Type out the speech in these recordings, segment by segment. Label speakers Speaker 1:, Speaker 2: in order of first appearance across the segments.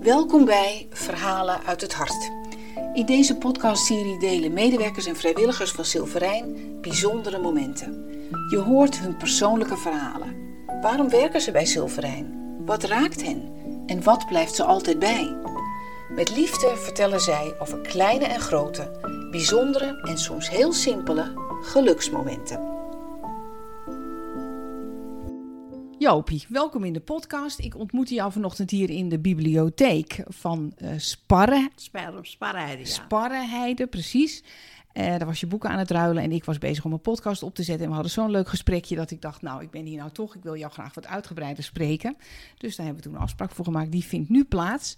Speaker 1: Welkom bij Verhalen uit het Hart. In deze podcastserie delen medewerkers en vrijwilligers van Silverijn bijzondere momenten. Je hoort hun persoonlijke verhalen. Waarom werken ze bij Silverijn? Wat raakt hen? En wat blijft ze altijd bij? Met liefde vertellen zij over kleine en grote, bijzondere en soms heel simpele geluksmomenten.
Speaker 2: Jopie, welkom in de podcast. Ik ontmoette jou vanochtend hier in de bibliotheek van eh, Sparre,
Speaker 3: Sperm, sparrijden, ja.
Speaker 2: Sparreheide, precies. Eh, daar was je boeken aan het ruilen en ik was bezig om een podcast op te zetten. En we hadden zo'n leuk gesprekje dat ik dacht, nou, ik ben hier nou toch. Ik wil jou graag wat uitgebreider spreken. Dus daar hebben we toen een afspraak voor gemaakt. Die vindt nu plaats.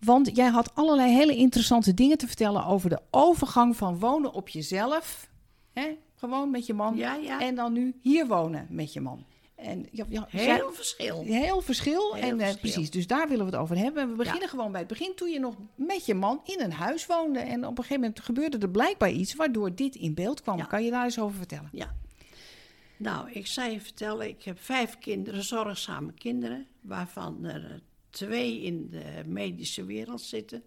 Speaker 2: Want jij had allerlei hele interessante dingen te vertellen over de overgang van wonen op jezelf. Hè? Gewoon met je man.
Speaker 3: Ja, ja.
Speaker 2: En dan nu hier wonen met je man. En ja, ja, zij-
Speaker 3: Heel verschil.
Speaker 2: Heel verschil.
Speaker 3: Heel
Speaker 2: en, eh,
Speaker 3: verschil.
Speaker 2: precies, dus daar willen we het over hebben. En we beginnen gewoon bij het begin. Toen je nog met je man in een huis woonde. En op een gegeven moment gebeurde er blijkbaar iets waardoor dit in beeld kwam.
Speaker 3: Ja.
Speaker 2: Kan je daar eens over vertellen?
Speaker 3: Ja. Nou, ik zou je vertellen, ik heb vijf kinderen, zorgzame kinderen, waarvan er eh, twee in de medische wereld zitten.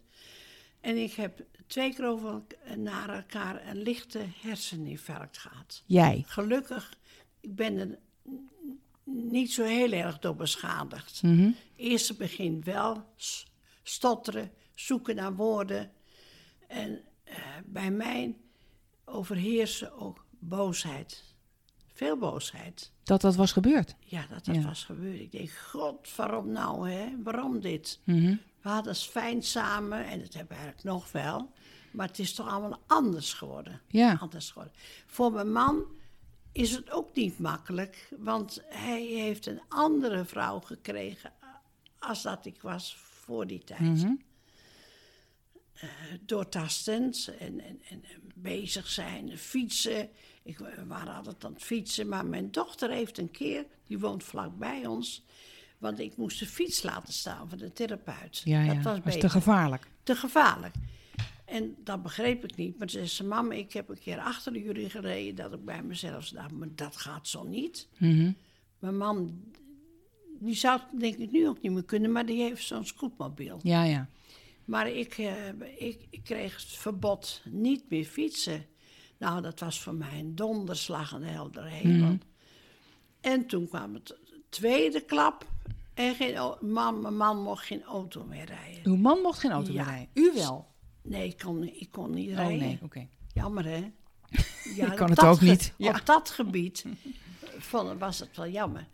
Speaker 3: En ik heb twee keer over elk- naar elkaar een lichte herseninfarct gehad.
Speaker 2: Jij.
Speaker 3: Gelukkig, ik ben er n- niet zo heel erg door beschadigd.
Speaker 2: Mhm.
Speaker 3: Eerste begin wel, s- stotteren, zoeken naar woorden. En eh, bij mij overheersen ook boosheid. Veel boosheid.
Speaker 2: Dat dat was gebeurd.
Speaker 3: Ja, dat, dat
Speaker 2: Ja.
Speaker 3: was gebeurd. Ik denk, god, waarom nou, hè? Waarom dit?
Speaker 2: Mhm.
Speaker 3: We hadden het fijn samen, en dat hebben we eigenlijk nog wel. Maar het is toch allemaal anders geworden.
Speaker 2: Ja.
Speaker 3: Anders geworden. Voor mijn man is het ook niet makkelijk. Want hij heeft een andere vrouw gekregen eh, als dat ik was voor die tijd.
Speaker 2: Mhm.
Speaker 3: Eh, doortastend en, en, en en bezig zijn, fietsen. Ik, we waren altijd aan het fietsen, maar mijn dochter heeft een keer, die woont vlakbij ons, want ik moest de fiets laten staan van de therapeut. Dat was
Speaker 2: was
Speaker 3: beter
Speaker 2: te gevaarlijk.
Speaker 3: te gevaarlijk. En dat begreep ik niet. Maar ze zei, mam, ik heb een keer achter jullie gereden... dat ik bij mezelf dacht, maar dat gaat zo niet. Mijn man, die zou het denk ik nu ook niet meer kunnen... maar die heeft zo'n scootmobiel.
Speaker 2: Ja, ja.
Speaker 3: Maar ik, eh, ik, ik kreeg het verbod niet meer fietsen. Nou, dat was voor mij een donderslag aan de heldere hemel.
Speaker 2: Mhm.
Speaker 3: En toen kwam het tweede klap... en geen, au- man, mijn man mocht geen auto meer rijden.
Speaker 2: Uw man mocht geen auto
Speaker 3: Ja.
Speaker 2: meer rijden. U wel.
Speaker 3: Nee, ik kon, ik kon niet
Speaker 2: Oh
Speaker 3: rijden.
Speaker 2: nee, oké.
Speaker 3: Jammer, hè? Ja,
Speaker 2: Ik kan
Speaker 3: op
Speaker 2: het
Speaker 3: dat
Speaker 2: ook
Speaker 3: ge-
Speaker 2: niet. Ja.
Speaker 3: Op dat gebied van, was het wel jammer.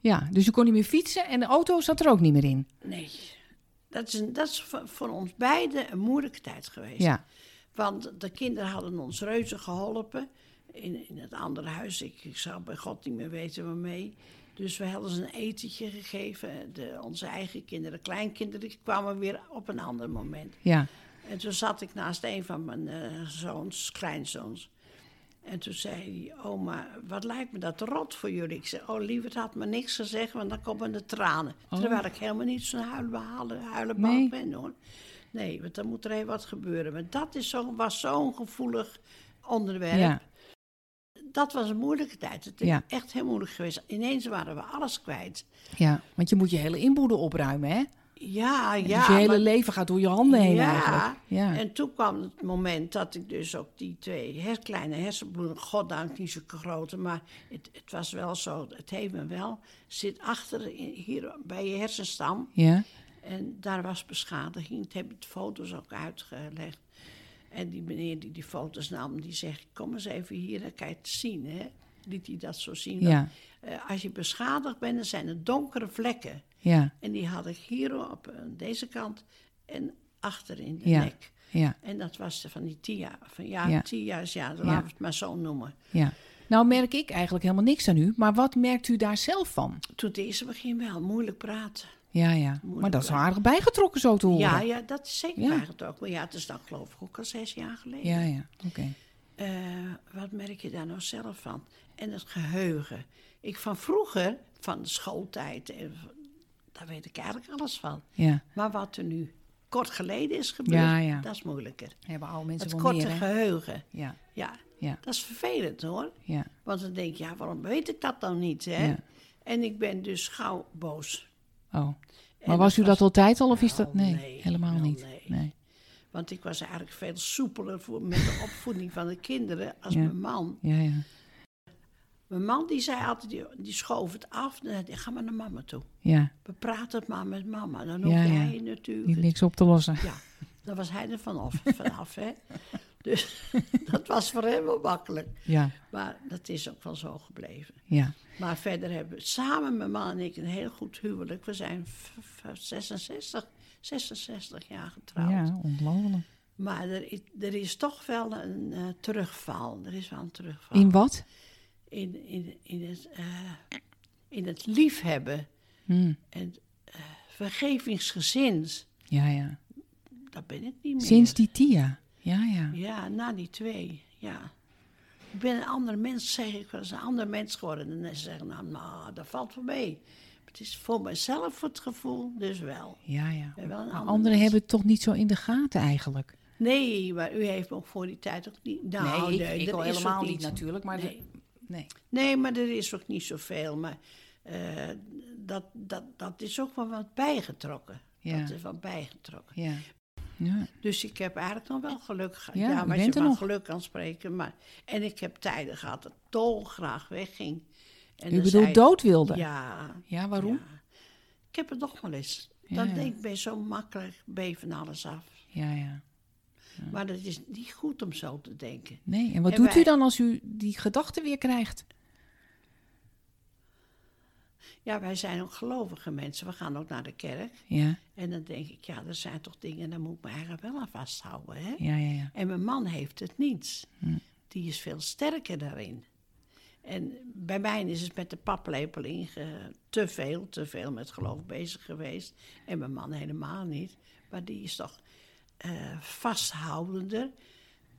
Speaker 2: Ja, dus u kon niet meer fietsen en de auto zat er ook niet meer in.
Speaker 3: Nee, dat is, een- dat is voor, voor ons beiden een moeilijke tijd geweest.
Speaker 2: Ja.
Speaker 3: Want de kinderen hadden ons reuze geholpen in, in het andere huis. Ik, ik zou bij God niet meer weten waarmee. Dus we hadden ze een etentje gegeven. De, onze eigen kinderen, kleinkinderen, die kwamen weer op een ander moment.
Speaker 2: Ja.
Speaker 3: En toen zat ik naast een van mijn eh, zoons, kleinzoons. En toen zei hij, oma, wat lijkt me dat rot voor jullie. Ik zei, oh lieverd, had me niks gezegd, want dan komen de tranen. Terwijl ik helemaal niet zo'n huilenbal huilenbal
Speaker 2: Oh. Nee.
Speaker 3: ben, hoor. Nee, want dan moet er even wat gebeuren. Maar dat is zo, was zo'n gevoelig onderwerp.
Speaker 2: Ja.
Speaker 3: Dat was een moeilijke tijd. Het is
Speaker 2: Ja.
Speaker 3: echt heel moeilijk geweest. Ineens waren we alles kwijt.
Speaker 2: ja, want je moet je hele inboedel opruimen, hè?
Speaker 3: Ja, ja.
Speaker 2: dus je hele
Speaker 3: maar-
Speaker 2: leven gaat door je handen heen eigenlijk. Ja.
Speaker 3: en toen kwam het moment dat ik dus ook die twee her, kleine hersenbloemen, goddank niet zo grote, maar het, het was wel zo, het heeft me wel, zit achter in- hier bij je hersenstam.
Speaker 2: ja.
Speaker 3: En daar was beschadiging, het hebben de foto's ook uitgelegd. En die meneer die die foto's nam, die zegt, kom eens even hier, dan kan je het zien, hè. Liet hij dat zo zien.
Speaker 2: Ja.
Speaker 3: Eh, als je beschadigd bent, dan zijn er donkere vlekken.
Speaker 2: Ja.
Speaker 3: En die had ik hier op eh, deze kant en achter in de
Speaker 2: Ja.
Speaker 3: nek.
Speaker 2: Ja.
Speaker 3: En dat was de van die Tia. Van ja,
Speaker 2: Ja.
Speaker 3: Tia's, ja, laten
Speaker 2: Ja.
Speaker 3: we het maar zo noemen.
Speaker 2: Ja. Nou merk ik eigenlijk helemaal niks aan u, maar wat merkt u daar zelf van?
Speaker 3: Toen het eerste begin wel, moeilijk praten.
Speaker 2: Ja, ja. Maar dat is wel aardig bijgetrokken zo te horen.
Speaker 3: Ja, ja, dat is zeker
Speaker 2: Ja.
Speaker 3: eigenlijk ook. Maar ja, het is dan geloof ik ook al zes jaar geleden.
Speaker 2: ja. ja. Oké.
Speaker 3: Eh, wat merk je daar nou zelf van? En het geheugen. Ik van vroeger, van de schooltijd, en v- daar weet ik eigenlijk alles van.
Speaker 2: Ja.
Speaker 3: Maar wat er nu kort geleden is gebeurd,
Speaker 2: Ja, ja.
Speaker 3: dat is moeilijker.
Speaker 2: Hebben oude mensen
Speaker 3: Het
Speaker 2: wel
Speaker 3: korte
Speaker 2: meer, hè?
Speaker 3: geheugen.
Speaker 2: Ja.
Speaker 3: Ja,
Speaker 2: Ja.
Speaker 3: dat is vervelend hoor.
Speaker 2: Ja.
Speaker 3: Want dan denk je, ja, waarom weet ik dat dan niet? Hè?
Speaker 2: Ja.
Speaker 3: En ik ben dus gauw boos.
Speaker 2: Oh. Maar was u dat altijd al of is dat... Nee, helemaal
Speaker 3: wel
Speaker 2: niet.
Speaker 3: nee.
Speaker 2: Nee.
Speaker 3: Want ik was eigenlijk veel soepeler voor, met de opvoeding van de kinderen als
Speaker 2: Ja.
Speaker 3: mijn man.
Speaker 2: Ja, ja.
Speaker 3: Mijn man die zei altijd, die, die schoof het af. En zei, ga maar naar mama toe.
Speaker 2: Ja,
Speaker 3: Bepraat het maar met mama. Dan
Speaker 2: Ja,
Speaker 3: hoef
Speaker 2: ja.
Speaker 3: jij natuurlijk...
Speaker 2: niet
Speaker 3: het-
Speaker 2: niks op te lossen.
Speaker 3: Ja, dan was hij er vanaf, vanaf hè. Dus dat was voor hem wel makkelijk.
Speaker 2: Ja,
Speaker 3: Maar dat is ook wel zo gebleven.
Speaker 2: ja.
Speaker 3: Maar verder hebben we samen, mijn man en ik, een heel goed huwelijk. We zijn v- v- 66, 66 jaar getrouwd.
Speaker 2: Ja, ongelooflijk.
Speaker 3: Maar er, i- er is toch wel een eh, terugval. Er is wel een terugval.
Speaker 2: In wat?
Speaker 3: In, in, in, het, eh, in het liefhebben
Speaker 2: Hm,
Speaker 3: en eh, vergevingsgezind.
Speaker 2: Ja, ja.
Speaker 3: Dat ben ik niet meer.
Speaker 2: Sinds die Tia. Ja, ja.
Speaker 3: Ja, na die twee, ja. Ik ben een ander mens, zeg ik wel eens, een ander mens geworden. En ze zeggen, nou, nou, dat valt wel mee. Maar Het is voor mezelf het gevoel, dus wel.
Speaker 2: Ja, ja.
Speaker 3: ben wel een
Speaker 2: Maar
Speaker 3: ander
Speaker 2: Anderen
Speaker 3: mens.
Speaker 2: hebben het toch niet zo in de gaten eigenlijk.
Speaker 3: Nee, maar u heeft me ook voor die tijd ook niet... Nou, nee, dat is ook
Speaker 2: natuurlijk. Maar
Speaker 3: nee.
Speaker 2: nee.
Speaker 3: nee, maar er is ook niet zoveel. Maar eh, dat, dat, dat is ook wel wat bijgetrokken.
Speaker 2: Ja.
Speaker 3: Dat is wat bijgetrokken.
Speaker 2: Ja. ja.
Speaker 3: Dus ik heb eigenlijk nog wel geluk gehad.
Speaker 2: Ja,
Speaker 3: Ja,
Speaker 2: u
Speaker 3: maar
Speaker 2: bent
Speaker 3: je
Speaker 2: er
Speaker 3: van
Speaker 2: nog.
Speaker 3: geluk kan spreken. Maar, en ik heb tijden gehad dat ik dolgraag wegging. En
Speaker 2: U
Speaker 3: dan
Speaker 2: bedoelt
Speaker 3: zei-
Speaker 2: dood wilde?
Speaker 3: Ja.
Speaker 2: Ja, waarom?
Speaker 3: ja. Ik heb het nog wel eens.
Speaker 2: Ja,
Speaker 3: Dan
Speaker 2: ja.
Speaker 3: denk ik, ben je zo makkelijk, ben je van alles af.
Speaker 2: Ja, ja.
Speaker 3: Maar dat is niet goed om zo te denken.
Speaker 2: Nee, en wat
Speaker 3: En
Speaker 2: doet
Speaker 3: wij-
Speaker 2: u dan als u die gedachten weer krijgt?
Speaker 3: Ja, wij zijn ook gelovige mensen. We gaan ook naar de kerk.
Speaker 2: Ja,
Speaker 3: En dan denk ik, ja, er zijn toch dingen, daar moet ik me eigenlijk wel aan vasthouden. Hè?
Speaker 2: ja, ja. ja.
Speaker 3: En mijn man heeft het niet. Die is veel sterker daarin. En bij mij is het met de paplepel inge... te veel, te veel met geloof bezig geweest. En mijn man helemaal niet. Maar die is toch eh, vasthoudender.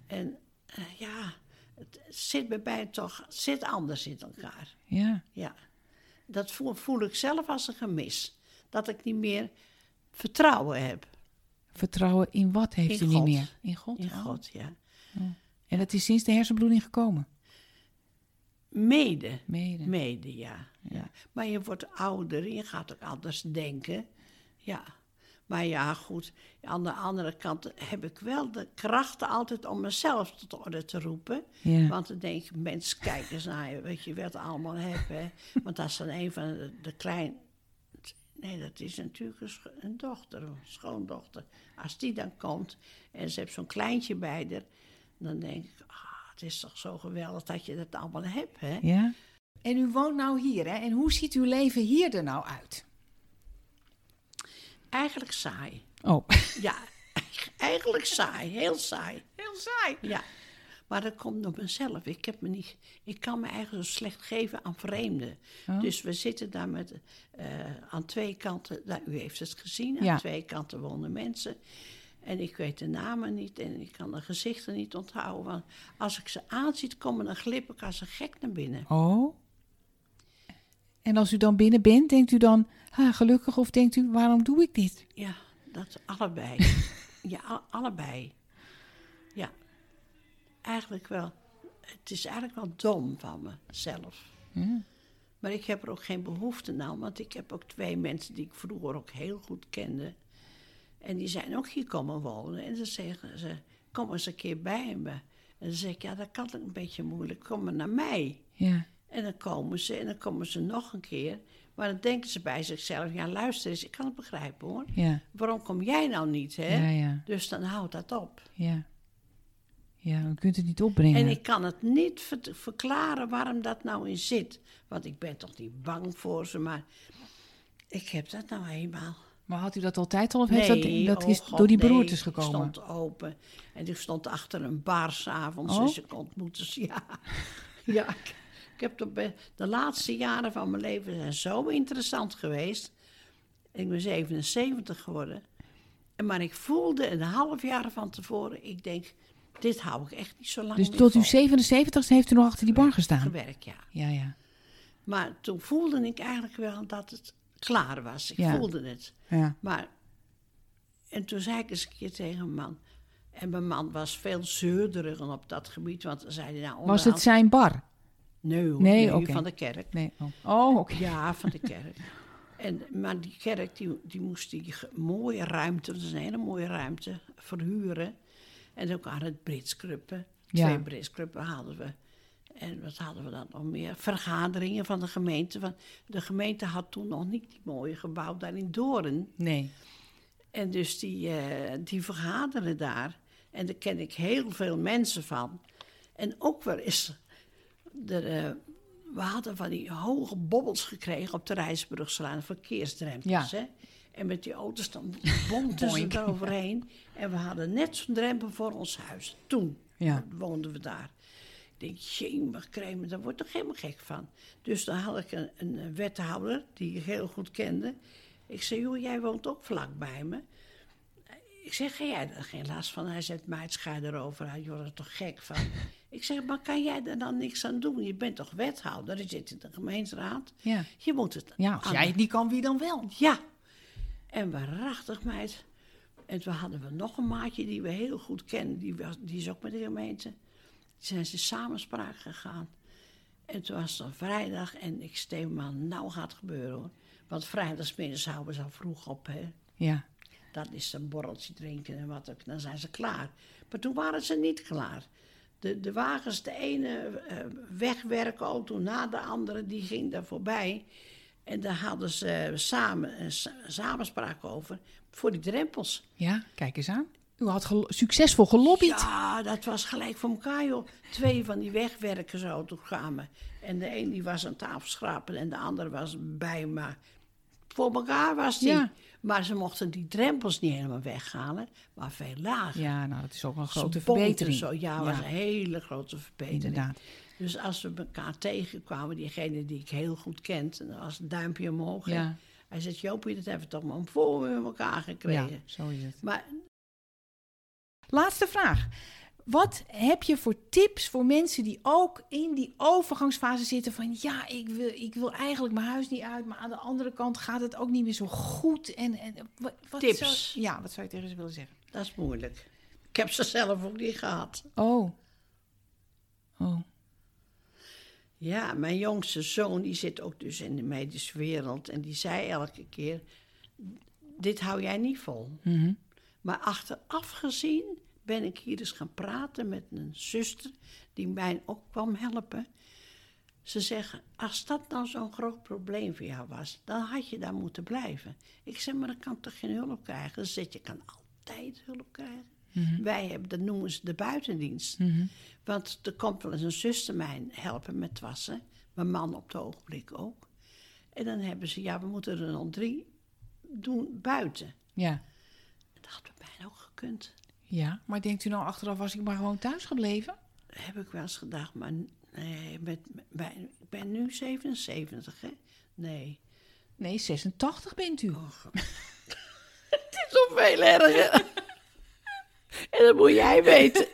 Speaker 3: En eh, ja, het zit bij mij toch zit anders in elkaar.
Speaker 2: ja.
Speaker 3: Ja. Dat voel, voel ik zelf als een gemis. Dat ik niet meer vertrouwen heb
Speaker 2: Vertrouwen in wat heeft
Speaker 3: In
Speaker 2: u
Speaker 3: God.
Speaker 2: niet meer? In God.
Speaker 3: in
Speaker 2: oh.
Speaker 3: God, ja.
Speaker 2: En dat is sinds de hersenbloeding gekomen?
Speaker 3: Mede.
Speaker 2: Mede.
Speaker 3: Mede, ja. ja. Maar je wordt ouder en je gaat ook anders denken. Ja. Maar ja, goed. Aan de andere kant heb ik wel de kracht altijd om mezelf tot orde te roepen.
Speaker 2: Ja.
Speaker 3: Want dan denk ik, mensen, kijk eens naar je, wat je werd allemaal hebben. hè. Want dat is dan een van de, de klein... Nee, dat is natuurlijk een, scho- een dochter, een schoondochter. Als die dan komt en ze heeft zo'n kleintje bij haar... dan denk ik, ah, het is toch zo geweldig dat je dat allemaal hebt, hè?
Speaker 2: Ja. En u woont nou hier, hè? En hoe ziet uw leven hier er nou uit?
Speaker 3: Eigenlijk saai.
Speaker 2: Oh.
Speaker 3: Ja, eigenlijk saai. Heel saai.
Speaker 2: Heel saai.
Speaker 3: Ja. Maar dat komt door mezelf. Ik, heb me niet, ik kan me eigenlijk zo slecht geven aan vreemden. Dus we zitten daar met, eh, aan twee kanten. Nou, u heeft het gezien. Aan
Speaker 2: Ja.
Speaker 3: twee kanten wonen mensen. En ik weet de namen niet en ik kan de gezichten niet onthouden. Want als ik ze aanziet komen, dan glip ik als een gek naar binnen.
Speaker 2: Oh. En als u dan binnen bent, denkt u dan, ha, gelukkig, of denkt u, waarom doe ik dit?
Speaker 3: Ja, dat allebei. ja, al- allebei. Ja. Eigenlijk wel. Het is eigenlijk wel dom van mezelf. Maar ik heb er ook geen behoefte aan, want ik heb ook twee mensen die ik vroeger ook heel goed kende. En die zijn ook hier komen wonen. En dan zeggen ze, kom eens een keer bij me. En dan zeg ik, ja, dat kan ook een beetje moeilijk. Kom maar naar mij.
Speaker 2: Ja.
Speaker 3: En dan komen ze en dan komen ze nog een keer. Maar dan denken ze bij zichzelf, ja, luister eens, ik kan het begrijpen hoor
Speaker 2: Ja.
Speaker 3: waarom kom jij nou niet, hè?
Speaker 2: Ja, ja.
Speaker 3: Dus dan houdt dat op.
Speaker 2: Ja. Ja, u kunt het niet opbrengen.
Speaker 3: En ik kan het niet vert- verklaren waarom dat nou in zit. Want ik ben toch niet bang voor ze, maar ik heb dat nou eenmaal.
Speaker 2: Maar had u dat altijd al of heeft dat, dat
Speaker 3: oh
Speaker 2: is
Speaker 3: God,
Speaker 2: door die
Speaker 3: nee.
Speaker 2: beroertes
Speaker 3: Ik
Speaker 2: gekomen?
Speaker 3: stond open en ik stond achter een bar s'avonds
Speaker 2: Oh.
Speaker 3: dus ik ontmoette ze. Ja, ja ik, ik heb de, be- de laatste jaren van mijn leven zijn zo interessant geweest. Ik ben 77 geworden. En Maar ik voelde een half jaar van tevoren, ik denk, dit hou ik echt niet zo lang
Speaker 2: Dus
Speaker 3: meer
Speaker 2: tot uw
Speaker 3: vol.
Speaker 2: 77ste heeft u nog achter die bar gestaan?
Speaker 3: Gewerkt, ja.
Speaker 2: Ja, ja.
Speaker 3: Maar toen voelde ik eigenlijk wel dat het klaar was. Ik
Speaker 2: Ja.
Speaker 3: voelde het.
Speaker 2: Ja.
Speaker 3: Maar, en toen zei ik eens een keer tegen mijn man. En mijn man was veel zeurderig op dat gebied, want dan zei hij nou
Speaker 2: Was
Speaker 3: onderaan-
Speaker 2: het zijn bar?
Speaker 3: Nee, hoor,
Speaker 2: Nee,
Speaker 3: nee,
Speaker 2: oké.
Speaker 3: van de kerk.
Speaker 2: Nee. Oh, oh oké.
Speaker 3: Ja, van de kerk. En, maar die kerk die, die moest die ge- mooie ruimte, dat is een hele mooie ruimte, verhuren. En ook aan het Britskruppen.
Speaker 2: Ja.
Speaker 3: Twee Britskruppen hadden we. En wat hadden we dan nog meer? Vergaderingen van de gemeente. Want de gemeente had toen nog niet die mooie gebouw daar in Doorn.
Speaker 2: Nee.
Speaker 3: En dus die, eh, die vergaderen daar. En daar ken ik heel veel mensen van. En ook wel eens. Er, eh, we hadden van die hoge bobbels gekregen op de Rijsbrugstraat, verkeersdrempels.
Speaker 2: Ja.
Speaker 3: Hè? En met die auto's dan bompten ze
Speaker 2: Boink.
Speaker 3: eroverheen. En we hadden net zo'n drempel voor ons huis. Toen
Speaker 2: Ja.
Speaker 3: woonden we daar. Ik denk, jemig cremen, daar word ik helemaal gek van. Dus dan had ik een, een wethouder die ik heel goed kende. Ik zei, joh, jij woont ook vlak bij me. Ik zeg, ga jij daar geen last van? Hij zegt, meid, schei erover uit, je wordt er toch gek van. ik zeg, maar kan jij daar dan niks aan doen? Je bent toch wethouder, je zit in de gemeenteraad.
Speaker 2: Ja.
Speaker 3: Je moet het
Speaker 2: Ja, als
Speaker 3: aan-
Speaker 2: jij het niet kan, wie dan wel?
Speaker 3: ja. En waarachtig, meid. En toen hadden we nog een maatje die we heel goed kennen. Die, was, die is ook met de gemeente. Die zijn ze samenspraak gegaan. En toen was het dan vrijdag. En ik steef me aan, nou gaat het gebeuren hoor. Want vrijdagmiddags houden ze al vroeg op. Hè.
Speaker 2: Ja.
Speaker 3: Dat is een borreltje drinken en wat ook. Dan zijn ze klaar. Maar toen waren ze niet klaar. De, de wagens, de ene eh, wegwerkauto na de andere, die ging daar voorbij. En daar hadden ze eh, samen, een sa- samenspraak over voor die drempels.
Speaker 2: Ja, kijk eens aan. U had gelo- succesvol gelobbyd.
Speaker 3: Ja, dat was gelijk voor elkaar, joh. Twee van die wegwerkers auto kwamen. En de een die was aan tafel schrapen en de ander was bij maar Voor elkaar was die.
Speaker 2: Ja.
Speaker 3: Maar ze mochten die drempels niet helemaal weghalen, maar veel lager.
Speaker 2: Ja, nou, dat is ook een
Speaker 3: Ze
Speaker 2: grote
Speaker 3: bonkten
Speaker 2: verbetering.
Speaker 3: Zo. Ja, was een hele grote verbetering.
Speaker 2: Inderdaad.
Speaker 3: Dus als we elkaar tegenkwamen, diegene die ik heel goed kent, en dat was een duimpje omhoog. hè.
Speaker 2: Ja.
Speaker 3: Hij zegt, Jopie, dat hebben we toch maar voor met elkaar
Speaker 2: ja,
Speaker 3: gekregen.
Speaker 2: zo is het.
Speaker 3: Maar
Speaker 2: Laatste vraag. Wat heb je voor tips voor mensen die ook in die overgangsfase zitten van ja, ik wil, ik wil eigenlijk mijn huis niet uit, maar aan de andere kant gaat het ook niet meer zo goed. En, en, wat, wat
Speaker 3: Tips.
Speaker 2: zou- ja, wat zou je tegen ze willen zeggen?
Speaker 3: dat is moeilijk. Ik heb ze zelf ook niet gehad.
Speaker 2: Oh. Oh.
Speaker 3: Ja, mijn jongste zoon, die zit ook dus in de medische wereld. En die zei elke keer, dit hou jij niet vol. Maar achteraf gezien ben ik hier eens gaan praten met een zuster... die mij ook kwam helpen. Ze zeggen, als dat nou zo'n groot probleem voor jou was... dan had je daar moeten blijven. Ik zeg, maar dan kan toch geen hulp krijgen? Ze zegt, je kan altijd hulp krijgen. Wij hebben, dat noemen ze de buitendienst.
Speaker 2: mhm.
Speaker 3: Want er komt wel eens een zuster mij helpen met wassen. Mijn man op het ogenblik ook. En dan hebben ze, ja, we moeten er nog drie doen buiten.
Speaker 2: Ja.
Speaker 3: Dat had bij mij ook gekund.
Speaker 2: Ja. Maar denkt u nou achteraf was ik maar gewoon thuis gebleven?
Speaker 3: heb ik wel eens gedacht, maar nee, met, bij, ik ben nu 77, hè? Nee.
Speaker 2: Nee, 86 bent u.
Speaker 3: Het is nog veel erger. en dat moet jij weten.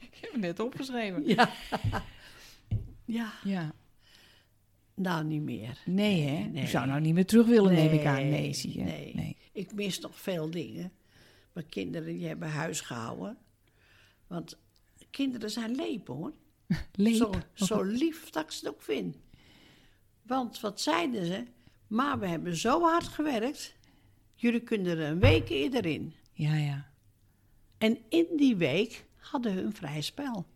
Speaker 2: Ik heb het net opgeschreven.
Speaker 3: ja. ja.
Speaker 2: Ja.
Speaker 3: Nou, niet meer.
Speaker 2: Nee, hè?
Speaker 3: nee.
Speaker 2: U zou nou niet meer terug willen, neem ik aan.
Speaker 3: Nee,
Speaker 2: Nee, zie je.
Speaker 3: nee. Ik mis nog veel dingen. Mijn kinderen die hebben huis gehouden. Want kinderen zijn leep, hoor.
Speaker 2: Leep.
Speaker 3: Zo, zo lief dat ik ze het ook vind. Want wat zeiden ze? Maar we hebben zo hard gewerkt. Jullie kunnen er een week eerder in.
Speaker 2: Ja, ja.
Speaker 3: En in die week hadden hun vrij spel.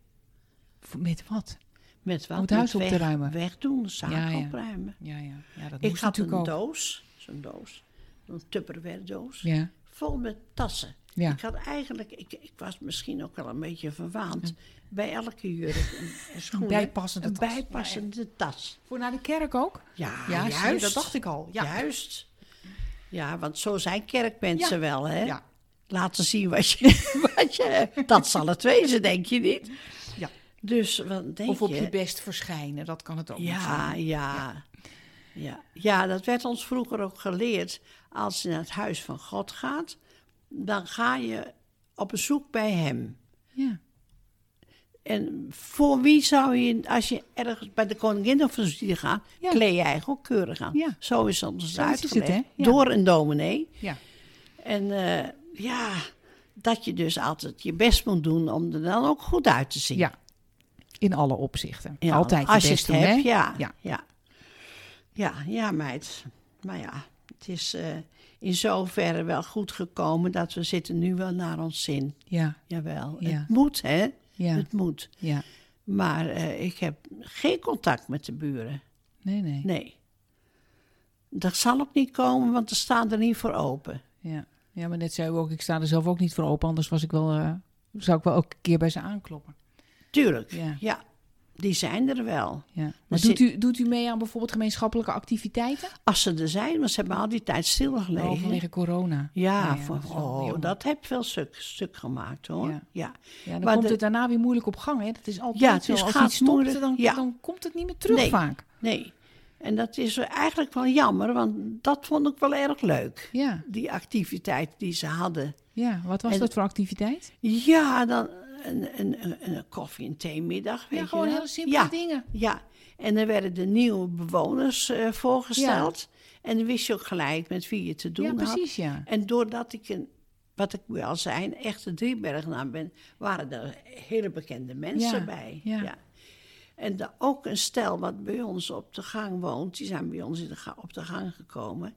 Speaker 2: Voor- Met wat?
Speaker 3: Met wat?
Speaker 2: Om het huis
Speaker 3: Met
Speaker 2: op te
Speaker 3: weg-
Speaker 2: ruimen.
Speaker 3: Wegdoen, zaken
Speaker 2: Ja, ja.
Speaker 3: opruimen.
Speaker 2: Ja, ja. ja dat
Speaker 3: Ik
Speaker 2: moest
Speaker 3: had een
Speaker 2: natuurlijk ook.
Speaker 3: doos, zo'n doos, een Tupperware doos,
Speaker 2: Ja.
Speaker 3: vol met tassen.
Speaker 2: Ja.
Speaker 3: Ik had eigenlijk, ik, ik was misschien ook wel een beetje verwaand, bij elke jurk een, een schoenen,
Speaker 2: bijpassende
Speaker 3: een
Speaker 2: tas.
Speaker 3: bijpassende tas.
Speaker 2: Voor naar de kerk ook?
Speaker 3: Ja,
Speaker 2: Ah, Ja, zie je,
Speaker 3: juist.
Speaker 2: dat dacht ik al. Ja.
Speaker 3: Juist. Ja, want zo zijn kerkmensen
Speaker 2: Ja.
Speaker 3: wel, hè?
Speaker 2: Ja.
Speaker 3: Laten zien wat je, wat je hebt. Dat zal het wezen, denk je niet?
Speaker 2: Ja.
Speaker 3: Dus wat denk
Speaker 2: Of op je
Speaker 3: je?
Speaker 2: best verschijnen, dat kan het ook nog zijn.
Speaker 3: Ja, ja. Ja. ja, dat werd ons vroeger ook geleerd. Als je naar het huis van God gaat, dan ga je op bezoek bij hem.
Speaker 2: Ja.
Speaker 3: En voor wie zou je, als je ergens bij de koningin of zo gaat,
Speaker 2: Ja.
Speaker 3: kleed je eigenlijk ook keurig aan.
Speaker 2: Ja.
Speaker 3: Zo is ons
Speaker 2: Zo is het,
Speaker 3: uitgelegd.
Speaker 2: hè? Ja.
Speaker 3: Door een dominee.
Speaker 2: Ja.
Speaker 3: En eh, ja, dat je dus altijd je best moet doen om er dan ook goed uit te zien.
Speaker 2: ja. In alle opzichten.
Speaker 3: Ja,
Speaker 2: Altijd je
Speaker 3: als
Speaker 2: best
Speaker 3: je
Speaker 2: doen,
Speaker 3: het
Speaker 2: hè?
Speaker 3: hebt, ja.
Speaker 2: ja.
Speaker 3: Ja. Ja, ja, meid. Maar ja, het is eh, in zoverre wel goed gekomen dat we zitten nu wel naar ons zin.
Speaker 2: Ja,
Speaker 3: Jawel,
Speaker 2: Ja.
Speaker 3: het moet hè,
Speaker 2: ja,
Speaker 3: het moet.
Speaker 2: ja.
Speaker 3: Maar eh, ik heb geen contact met de buren,
Speaker 2: Nee, nee.
Speaker 3: nee. Dat zal ook niet komen, want ze staan er niet voor open.
Speaker 2: Ja. ja, maar net zei u ook, ik sta er zelf ook niet voor open. Anders was ik wel, eh, zou ik wel ook een keer bij ze aankloppen.
Speaker 3: Tuurlijk,
Speaker 2: Ja.
Speaker 3: ja. Die zijn er wel.
Speaker 2: Ja. Maar
Speaker 3: Maar
Speaker 2: doet
Speaker 3: zit-
Speaker 2: u, doet u mee aan bijvoorbeeld gemeenschappelijke activiteiten?
Speaker 3: Als ze er zijn, want ze hebben al die tijd stilgelegen.
Speaker 2: Oh, vanwege corona.
Speaker 3: Ja,
Speaker 2: Nou ja,
Speaker 3: van-
Speaker 2: dat is wel
Speaker 3: oh,
Speaker 2: jammer.
Speaker 3: dat heb veel stuk, stuk gemaakt hoor.
Speaker 2: Ja.
Speaker 3: Ja, ja.
Speaker 2: Ja, dan
Speaker 3: maar
Speaker 2: komt
Speaker 3: de-
Speaker 2: het daarna weer moeilijk op gang. Hè? Dat is altijd
Speaker 3: Ja, het
Speaker 2: zo.
Speaker 3: is
Speaker 2: Als
Speaker 3: gaat
Speaker 2: iets stopt,
Speaker 3: moeilijk.
Speaker 2: dan,
Speaker 3: Ja.
Speaker 2: dan komt het niet meer terug
Speaker 3: Nee.
Speaker 2: vaak.
Speaker 3: nee. En dat is eigenlijk wel jammer, want dat vond ik wel erg leuk.
Speaker 2: Ja,
Speaker 3: Die activiteit die ze hadden.
Speaker 2: ja. wat was
Speaker 3: En-
Speaker 2: dat voor activiteit?
Speaker 3: Ja, dan een, een, een, een koffie- en theemiddag. Weet
Speaker 2: Ja,
Speaker 3: je
Speaker 2: gewoon
Speaker 3: wel.
Speaker 2: hele simpele
Speaker 3: ja,
Speaker 2: dingen.
Speaker 3: Ja, en dan werden de nieuwe bewoners eh, voorgesteld. En dan wist je ook gelijk met wie je te doen
Speaker 2: Ja,
Speaker 3: had.
Speaker 2: precies, ja.
Speaker 3: En doordat ik een, wat ik nu al zei, een echte driebergnaam ben, waren er hele bekende mensen
Speaker 2: Ja,
Speaker 3: bij.
Speaker 2: ja.
Speaker 3: En da- ook een stel wat bij ons op de gang woont, die zijn bij ons in de ga- op de gang gekomen.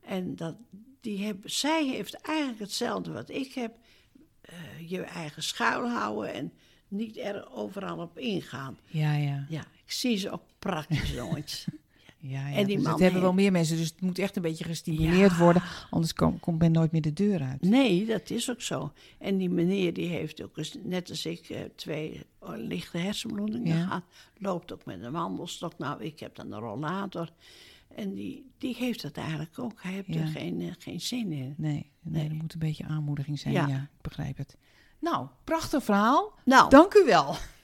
Speaker 3: En dat, die heb, zij heeft eigenlijk hetzelfde wat ik heb. Eh, je eigen schuil houden en niet er overal op ingaan.
Speaker 2: Ja, ja.
Speaker 3: Ja, ik zie ze ook praktisch nooit.
Speaker 2: ja, ja.
Speaker 3: En die
Speaker 2: Dus
Speaker 3: man
Speaker 2: dat hebben wel
Speaker 3: heeft-
Speaker 2: meer mensen. Dus het moet echt een beetje gestimuleerd worden. Anders kom- komt men nooit meer de deur uit.
Speaker 3: Nee, dat is ook zo. En die meneer die heeft ook eens, net als ik eh, twee eh, lichte hersenbloedingen
Speaker 2: Ja.
Speaker 3: gehad. Loopt ook met een wandelstok. Nou, ik heb dan een rollator. En die, die heeft dat eigenlijk ook. Hij heeft
Speaker 2: Ja.
Speaker 3: er geen, eh, geen zin in.
Speaker 2: Nee, nee,
Speaker 3: Nee.
Speaker 2: er moet een beetje aanmoediging zijn. Ja.
Speaker 3: Ja.
Speaker 2: ik begrijp het. Nou, prachtig verhaal.
Speaker 3: Nou,
Speaker 2: Dank u wel.